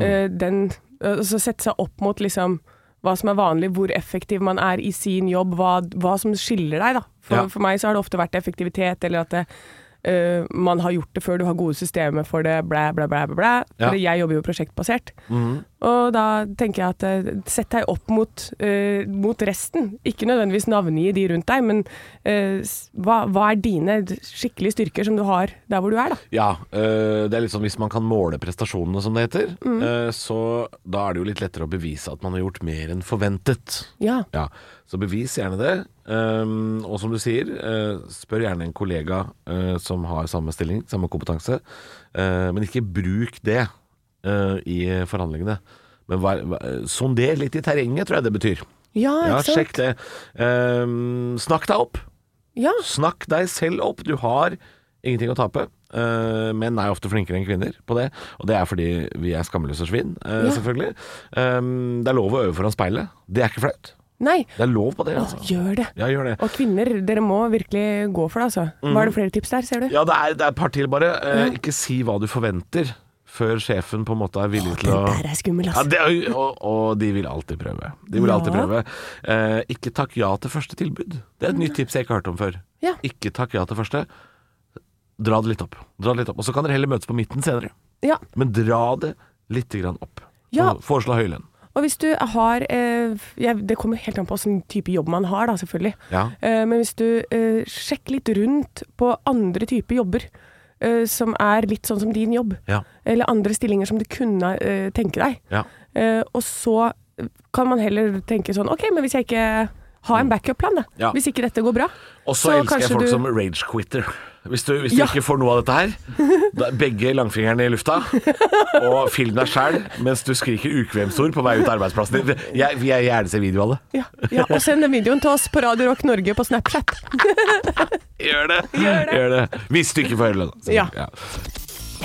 Eh, Den, og så sette seg opp mot liksom hva som er vanlig, hvor effektiv man er i sin jobb, hva, hva som skiller deg, da. For,
Ja.
for meg så har det ofte vært effektivitet, eller at det, eh, man har gjort det før, du har gode systemer for det, blæ, blæ, blæ, blæ. blæ.
Ja. Mhm.
For jeg jobber jo prosjektbasert. Og da tenker jeg at eh, sett deg opp mot, eh, mot resten. Ikke nødvendigvis navngi de rundt deg, men eh, s- hva, hva er dine d- skikkelige styrker som du har der hvor du er, da?
Ja, øh, det er litt sånn hvis man kan måle prestasjonene, som det heter,
Mm.
øh, så da er det jo litt lettere å bevise at man har gjort mer enn forventet.
Ja.
Ja, Så bevis gjerne det. Ehm, og som du sier, eh, spør gjerne en kollega eh, som har samme stilling, samme kompetanse. Eh, men ikke bruk det eh, i forhandlingene. Men vær, vær, sonder litt i terrenget, tror jeg det betyr.
Ja,
Ja,
ikke sant?
sjekk det. Ehm, snakk deg opp.
Ja.
Snakk deg selv opp. Du har ingenting å tape. Eh, menn er ofte flinkere enn kvinner på det, og det er fordi vi er skamløse svin, eh,
Ja.
selvfølgelig. Ehm, det er lov å øve foran speilet. Det er ikke flaut.
Nei,
Det er lov på det. Altså.
gjør det.
Ja, gjør det.
Og kvinner, dere må virkelig gå for det, altså. Var
Mhm.
det flere tips der, ser du?
Ja, det er, det er et par til, bare. Eh, ikke si hva du forventer, før sjefen på en måte er villig til å
Den der er skummel,
ja,
altså.
det, er- og, og de vil alltid prøve. De vil
Ja.
alltid prøve. Eh, ikke takk ja til første tilbud. Det er et nytt tips jeg ikke har hørt om før.
Ja.
Ikke takk ja til første. Dra det litt opp. Dra det litt opp. Og så kan dere heller møtes på midten senere.
Ja.
Men dra det litt grann opp.
Ja.
Og Foreslå høy lønn.
Og hvis du har eh, ja, Det kommer helt an på hvilken type jobb man har, da, selvfølgelig.
Ja.
Eh, men hvis du eh, sjekker litt rundt på andre typer jobber eh, som er litt sånn som din jobb,
Ja.
eller andre stillinger som du kunne eh, tenke deg,
Ja.
eh, og så kan man heller tenke sånn OK, men hvis jeg ikke har en backup-plan, da.
Mm. Ja.
Hvis ikke dette går bra.
Og så
så
elsker jeg
kanskje
folk
du-
som rage-quitter. Hvis du, hvis du
Ja.
ikke får noe av dette her, da er begge langfingrene i lufta, og film deg sjæl mens du skriker ukvemsord på vei ut av arbeidsplassen din. Jeg vil gjerne se video av det.
Ja, ja, og send den videoen til oss på Radio Rock Norge på Snapchat.
Gjør det! Gjør det. Hvis du ikke får høyere lønn.
Ja.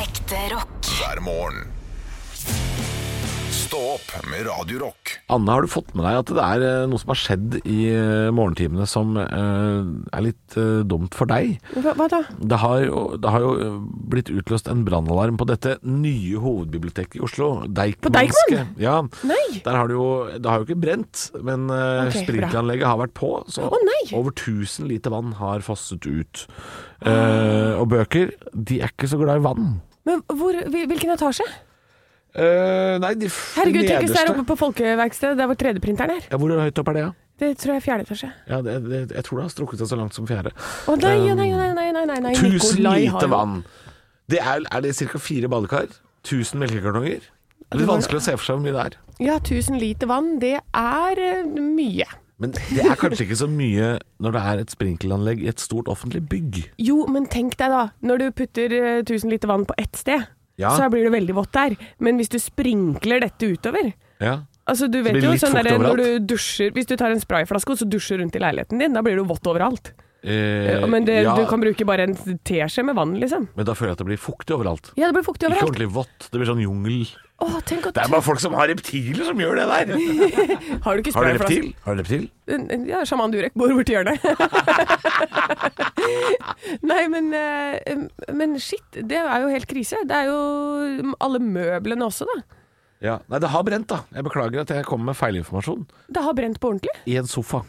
Ekte rock.
hver morgen. Stå opp med Radio Rock.
Anne, har du fått med deg at det er eh, noe som har skjedd i eh, morgentimene som eh, er litt eh, dumt for deg?
Hva, hva da?
Det har, jo, det har jo eh, blitt utløst en brannalarm på dette nye hovedbiblioteket i Oslo. Deichmanske.
Deichman?
Ja.
Nei.
Der har det, jo, det har jo ikke brent, men eh,
Ok, bra.
sprinkleranlegget har vært på. Så
Å, nei!
over 1000 liter vann har fosset ut. Eh, og bøker, de er ikke så glad i vann.
Men hvor, hvil- hvilken etasje?
Eh, nei, de f
Herregud, tenk hvis det er
nederste
oppe på Folkeverkstedet, der hvor 3D-printeren er.
ja, Hvor høyt opp er det, ja?
Det tror jeg er fjerde etasje.
ja det, det, jeg tror det har strukket seg så langt som fjerde.
Å nei, å nei,
Um,
å nei, nei, nei, nei, nei.
1000
Nikolai har
liter
jo-
vann. Det er, er det ca. fire badekar? 1000 melkekartonger? Det er litt vanskelig å se for seg hvor mye det er.
Ja, 1000 liter vann, det er eh, mye.
Men det er kanskje ikke så mye når det er et sprinkelanlegg i et stort offentlig bygg.
Jo, men tenk deg da, når du putter eh, 1000 liter vann på ett sted,
Ja.
så blir det veldig vått der. Men hvis du sprinkler dette utover
Ja.
Altså, du vet
blir det
jo
litt
sånn
fukt
der, når
overalt.
du dusjer, Hvis du tar en sprayflaske og så dusjer rundt i leiligheten din, da blir du vått overalt.
Eh,
Men det,
ja,
du kan bruke bare en teskje med vann, liksom.
men da føler jeg at det blir fuktig overalt.
Ja, det blir fuktig
Ikke
overalt.
ordentlig vått. Det blir sånn jungel.
Å, tenk å
Det er bare folk som har reptiler som gjør det der.
Har du ikke
Har du
sprayflaske?
reptil? Har du reptil?
Ja, sjaman Durek bor borti hjørnet. Nei, men, eh, men shit, det er jo helt krise. Det er jo alle møblene også, da.
Ja. Nei, det har brent, da. Jeg beklager at jeg kom med feilinformasjon.
Det har brent på ordentlig.
I en sofa.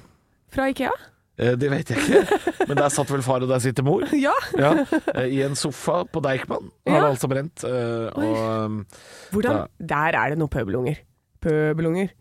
Fra Ikea.
Eh, det vet jeg ikke, men der satt vel far, og der sitter mor.
Ja.
Ja, eh, I en sofa på Deichman har det altså brent. eh, Og
Hvordan? Der er det noen pøbelunger. Pøbelunger.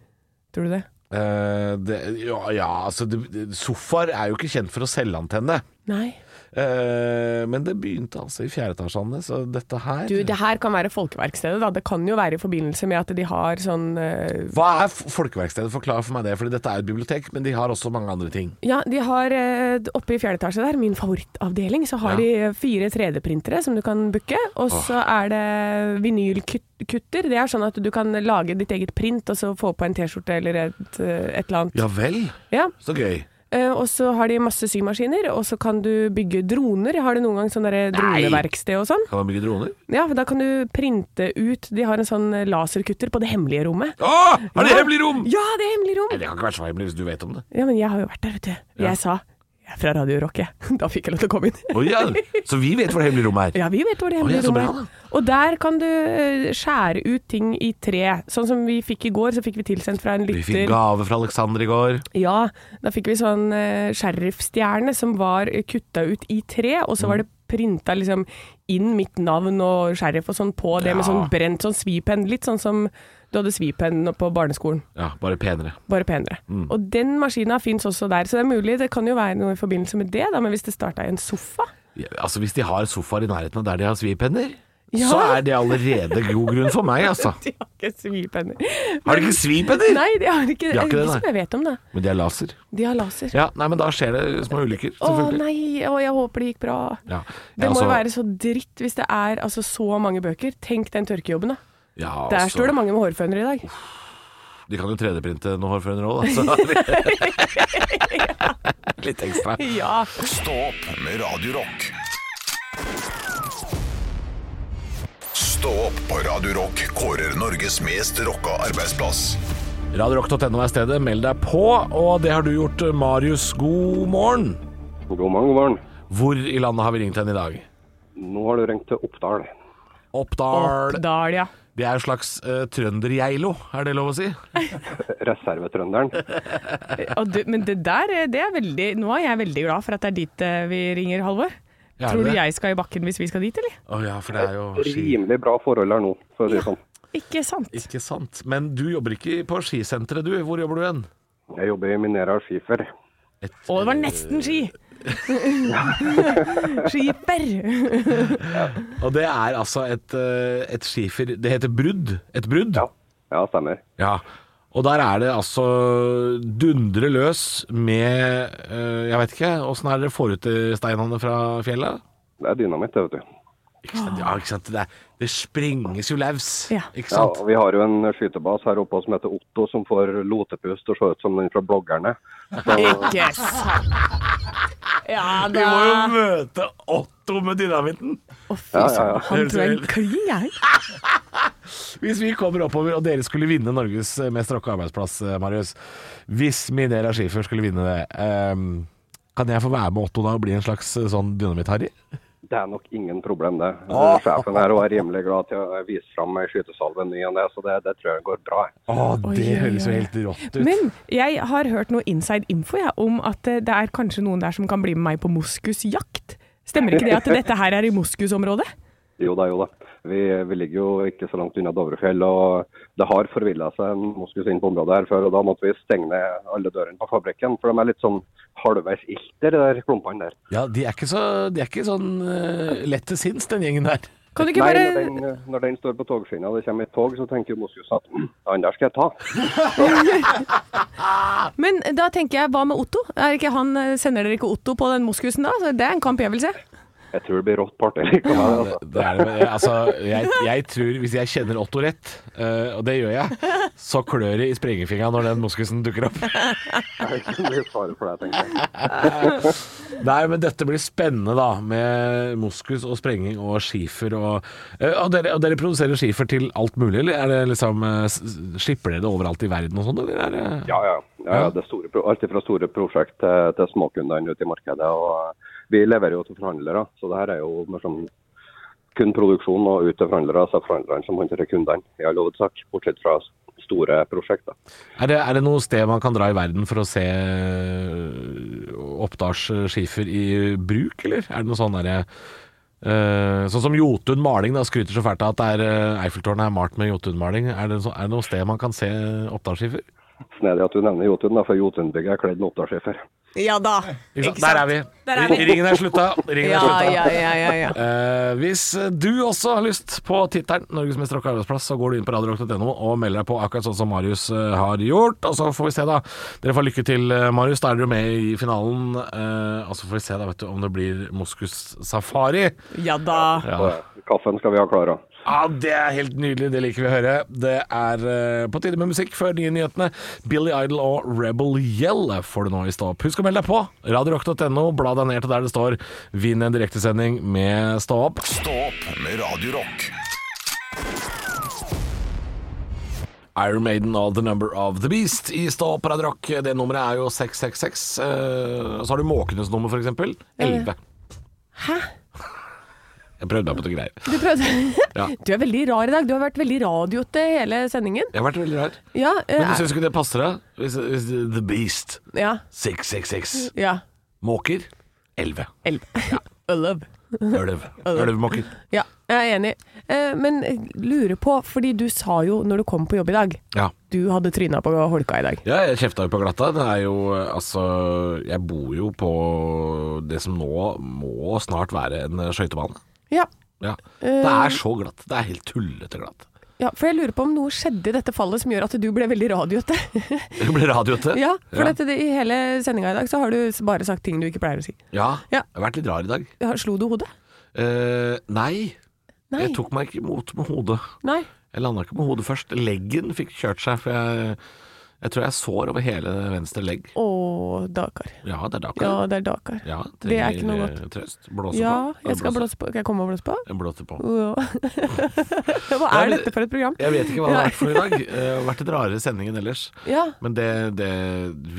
Tror du det?
eh, det, ja, ja, altså det- det- Sofaer er jo ikke kjent for å selvantenne.
Nei.
Eh, men det begynte altså i fjerde etasje, Anne, så dette her
Du, det her kan være Folkeverkstedet, da. Det kan jo være i forbindelse med at de har sånn eh,
Hva er F- Folkeverkstedet? Forklar for meg det, for dette er et bibliotek, men de har også mange andre ting.
Ja, de har eh, oppe i fjerde etasje der, min favorittavdeling, så har de fire 3D-printere som du kan booke. Og så er det vinylkutter. Det er sånn at du kan lage ditt eget print, og så få på en T-skjorte eller et, eh, et eller annet.
Ja vel?
Ja.
Så gøy.
Eh, og så har de masse symaskiner, og så kan du bygge droner. Har du noen gang sånn derre droneverksted og sånn?
Kan man bygge droner?
Ja, for da kan du printe ut De har en sånn eh, laserkutter på det hemmelige rommet.
Å! Er det
Ja.
hemmelig rom?
Ja, det er hemmelig rom!
Nei, det kan ikke være så hemmelig hvis du vet om det.
Ja, men jeg har jo vært der, vet du. Jeg sa jeg er fra Radio Rock, jeg. Da fikk jeg lov til å komme inn.
Å ja. Så vi vet hvor det hemmelige rommet er.
Ja, vi vet hvor det
Å,
hemmelige
ja, så bra,
rommet er. Og der kan du eh, skjære ut ting i tre. Sånn som vi fikk i går, så fikk vi tilsendt fra en
Vi fikk
lytter.
gave fra Alexander i går.
Ja, da fikk vi sånn uh, sheriffstjerne som var eh, kutta ut i tre, og så var det printa liksom inn mitt navn og sheriff og sånn på det med
Ja.
sånn brent sånn svipenn. Litt sånn som du hadde svipenn på barneskolen,
Ja, bare penere.
bare penere.
Mm.
Og den maskina fins også der, så det er mulig. Det kan jo være noe i forbindelse med det, da, men hvis det starta i en sofa
Ja, altså Hvis de har sofaer i nærheten av der de har svipenner,
Ja.
så er det allerede god grunn for meg, altså.
De har ikke svipenner.
Har de ikke svipenner?
Nei, de har ikke,
De har ikke det,
ikke som
nei.
jeg vet om, da.
Men de har laser.
De har laser.
Ja, nei, men da skjer det små ulykker,
Å
selvfølgelig.
nei, å, jeg håper det gikk bra.
Ja.
Det
Ja,
må
altså-
jo være så dritt hvis det er altså, så mange bøker. Tenk den tørkejobben, da.
ja,
Der
altså,
står det mange med hårfønere i dag.
De kan jo 3D-printe noe hårføner òg, da. Så. altså. Litt ekstra.
Ja.
Stå opp med Radio Rock. Stå opp på Radio Rock kårer Norges mest rocka arbeidsplass.
Radiorock.no er stedet. Meld deg på, og det har du gjort. eh, Marius, god morgen.
God morgen, god morgen.
Hvor i landet har vi ringt hen i dag?
Nå har du ringt til Oppdal.
Oppdal.
Oppdal, ja.
Det er en slags uh, trøndergeilo, er det lov å si?
Reservetrønderen.
Og du, men det der, eh, det er veldig Nå er jeg veldig glad for at det er dit eh, vi ringer, Halvor.
Ja, er
Tror du
det?
jeg skal i bakken hvis vi skal dit, eller?
Å ja, for det er jo ski.
Rimelig bra forhold her nå, for å si det sånn.
Ikke sant?
Ikke sant. Men du jobber ikke på skisenteret, du. Hvor jobber du hen?
Jeg jobber i Minera Skifer.
Å, det var nesten ski!
Eh.
Skiper!
Og det er altså et, eh, et skifer Det heter brudd. Et brudd? Ja.
Ja, stemmer.
Og der er det altså dundre løs med eh, Jeg vet ikke, åssen er det dere får ut eh, steinene fra fjellet?
Det er dynamitt, det, vet du.
Ikke sant? Ja, ikke sant? Det, er, det sprenges jo løs,
Ja.
ikke
Ja,
sant?
og vi har jo en skytebase her oppe som heter Otto, som får lotepust og ser ut som den fra bloggerne.
Ikke sant? Ja
Vi må jo
da.
møte Otto med dynamitten!
Å, fy søren. Han
Høres
tror jeg
helt-
klin, jeg.
Hvis vi kommer oppover og dere skulle vinne Norges mest rocka arbeidsplass, eh, Marius Hvis Minera Skifer skulle vinne det, ehm, kan jeg få være med Otto da og bli en slags eh, sånn dynamitt-harry?
Det er nok ingen problem, det.
Åh.
Sjefen her var rimelig glad til å vise fram skytesalven ny og ne, så det, det tror jeg går bra. jeg.
Å,
Oi,
det
oi,
høres jo
oi.
helt rått ut.
Men jeg har hørt noe inside info jeg, om at eh, det er kanskje noen der som kan bli med meg på moskusjakt. Stemmer ikke det at dette her er i moskusområdet?
Jo da, jo da. Vi, vi ligger jo ikke så langt unna Dovrefjell. Og det har forvilla seg en moskus inn på området her før, og da måtte vi stenge ned alle dørene på fabrikken. For de er litt sånn halvveis ilter, de der klumpene der.
Ja, de er ikke, så, de er ikke sånn eh, lett til sinns, den gjengen der.
Nei, når, den, når den står på togskinna og det kommer et tog, så tenker jo moskusen at «Hm, han der skal jeg ta.
Men da tenker jeg, hva med Otto? Er ikke han, eh, sender dere ikke Otto på den moskusen da? Så Det er en kamp jeg vil se.
Jeg tror det blir rått party. likevel, altså.
Det er, det, men, altså, jeg, jeg tror, hvis jeg kjenner Otto rett, eh, og det gjør jeg, så klør det i sprengefinga når den moskusen dukker opp.
Det er ikke mye fare for deg, tenker jeg.
Nei, men dette blir spennende, da. Med moskus og sprenging og skifer og Eh, Og dere, og dere produserer skifer til alt mulig, eller er det liksom eh, s- s- Slipper dere det overalt i verden og sånn, eller er det
Ja, ja. ja, ja. Det er store, pro- alt fra store prosjekt til, til småkundene ute i markedet. og Vi leverer jo til forhandlere, så det her er jo mer sånn kun produksjon og ut til forhandlere. Så er det forhandlerne som håndterer kundene, i all hovedsak. Bortsett fra s- store prosjekter.
Er det, er det noe sted man kan dra i verden for å se øh, Oppdals øh, skifer i bruk, eller? Er det noe sånn derre øh, Sånn som Jotun maling, da skryter så fælt av at det er, øh, Eiffeltårnet er malt med Jotun maling. Er det, så, er det noe sted man kan se Oppdalsskifer?
Snedig at du nevner Jotun, da, for Jotunbygget er kledd med oppdragsskifer.
Ja da.
Ikke sant? Der er vi. Ringen er slutta. Ringen er
Ja,
slutta.
ja, ja, ja, ja.
Eh, hvis du også har lyst på tittelen 'Norges mest rocka arbeidsplass', så går du inn på radiorock.no og melder deg på, akkurat sånn som Marius eh, har gjort. Og så får vi se, da. Dere får lykke til, eh, Marius. Da er dere jo med i finalen. eh, og så får vi se da, vet du, om det blir moskussafari.
Ja da.
Ja.
Kaffen skal vi ha klar. da.
Ja, Det er helt nydelig, det liker vi å høre. Det er eh, på tide med musikk før nye nyhetene. Billy Idol og Rebel Yell får du nå i stå opp. Husk å melde deg på! Radiorock.no, bla deg ned til der det står 'Vinn en direktesending med Stå opp'.
Stå opp med Radio Rock.
Iron Maiden og The Number of the Beast i Stå opp Radio Rock. Det nummeret er jo 666. eh, Og så har du måkenes nummer, for eksempel. 11.
Eh. Hæ?
Jeg prøvde meg på noe greier.
Du prøvde
Ja.
Du er veldig rar i dag. Du har vært veldig radioete hele sendingen.
Jeg har vært veldig rar.
Ja. eh,
Men du syns ikke det passer deg? Hvis, hvis the Beast.
Ja.
666.
ja.
Måker 11.
Elv. Ølv.
Ølv. Ølvmåker.
Ja, jeg er enig. Eh, Men lurer på, fordi du sa jo når du kom på jobb i dag,
Ja.
du hadde tryna på holka i dag.
Ja, jeg kjefta jo på glatta. Det er jo eh, altså Jeg bor jo på det som nå må snart være en eh, skøytebane.
Ja.
Ja.
Eh.
Det er så glatt. Det er helt tullete glatt.
ja, for jeg lurer på om noe skjedde i dette fallet som gjør at du ble veldig radioete.
Det ble radioete.
ja, for
ja.
Dette, i hele sendinga i dag så har du bare sagt ting du ikke pleier å si.
ja.
Ja.
Jeg har vært litt rar i dag.
Ja, Slo du hodet?
Eh, nei.
Nei.
Jeg tok meg ikke imot med hodet.
Nei.
Jeg landa ikke på hodet først. Leggen fikk kjørt seg, for jeg, jeg tror jeg er sår over hele venstre legg.
Å, Dakar.
Ja, det er Dakar.
Ja, det er Dakar.
Ja,
det er
trenger,
ikke noe
eh,
godt.
Trøst. Blåse
ja,
på.
jeg skal blåse på. Kan jeg komme og blåse på?
Jeg blåser på.
Ja. Hva
Nei,
er
men-
dette for et program?
Jeg vet ikke hva det
Nei.
har vært for i dag. Eh, Det har vært en rarere sending enn ellers.
Ja.
Men det, det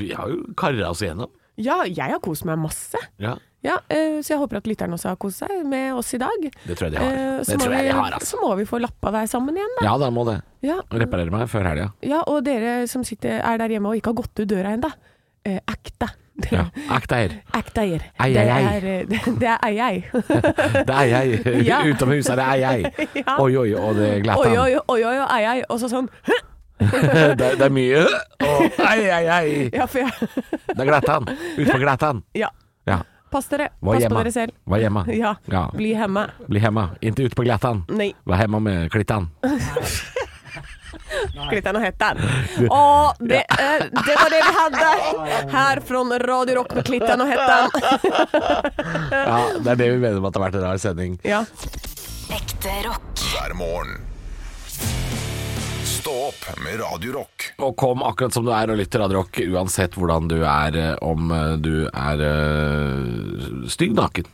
Vi har jo kara oss igjennom.
Ja, jeg har kost meg masse.
Ja.
Ja, eh, Så jeg håper at lytterne også har kost seg med oss i dag.
Det tror jeg de har.
Eh,
Det
Så, må
tror jeg
vi,
de har, altså.
så må vi få lappa deg sammen igjen, da.
Ja, da må det.
Ja.
Reparere meg før helga.
Ja, og dere som sitter, er der hjemme og ikke har gått ut døra ennå, eh, act da.
Ja. Act eier.
Act eier.
Ei,
Det
ei, ei.
er, eh, det- det er ei, ei.
Det er jeg.
Ja.
Utom huset er det er jeg.
Ja.
Oi, oi, og det glatt
Oi,
han.
oi, oi, oi, ei, ei. Og så sånn «Hø!»
det, er- det er mye øh, og ei, ei, ei.
Ja, for jeg
Det er Glætan. Ute på Glætan.
Ja.
Ja.
Pass dere.
Var
Pass
hjemme.
på dere selv.
Var hjemme.
Ja.
Ja.
Bli hjemme.
Bli hjemme. Ikke ute på Glætan.
Nei.
Var hjemme med Klittan.
Klittan og Hettan. Og det, eh, det var det vi hadde her fra Radio Rock med Klittan og Hettan.
Ja, det er det vi mener med at det har vært en rar sending.
Ja.
Ekte rock.
Hver morgen. Stå opp med Radio Rock.
Og kom akkurat som du er og lytter Radio Rock, uansett hvordan du er, eh, om eh, du er eh, stygg naken.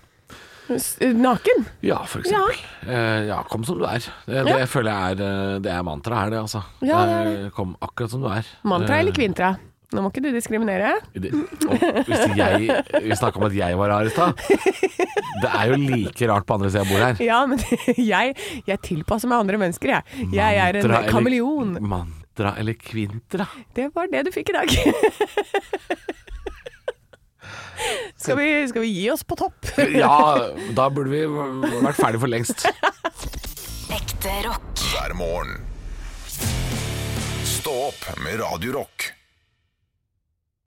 S- Naken?
Ja, for eksempel. Eh, ja, kom som du er. Det, det
Ja.
føler jeg er eh, Det er mantraet her, det, altså.
Ja, det er det.
Eh, Kom akkurat som du er.
Mantra eller
Eh,
kvintra? Nå må ikke du diskriminere.
Det, og hvis jeg Vi snakka om at jeg var rar i stad. Det er jo like rart på andre sida av bordet her.
Ja, men jeg, jeg tilpasser meg andre mennesker, jeg. Jeg er en
Mantra eller-
kameleon.
Mantra eller kvintra?
Det var det du fikk i dag. Skal vi, skal vi gi oss på topp?
Ja, da burde vi vært ferdig for lengst.
Ekte rock.
hver morgen. Stå opp med Radio Rock.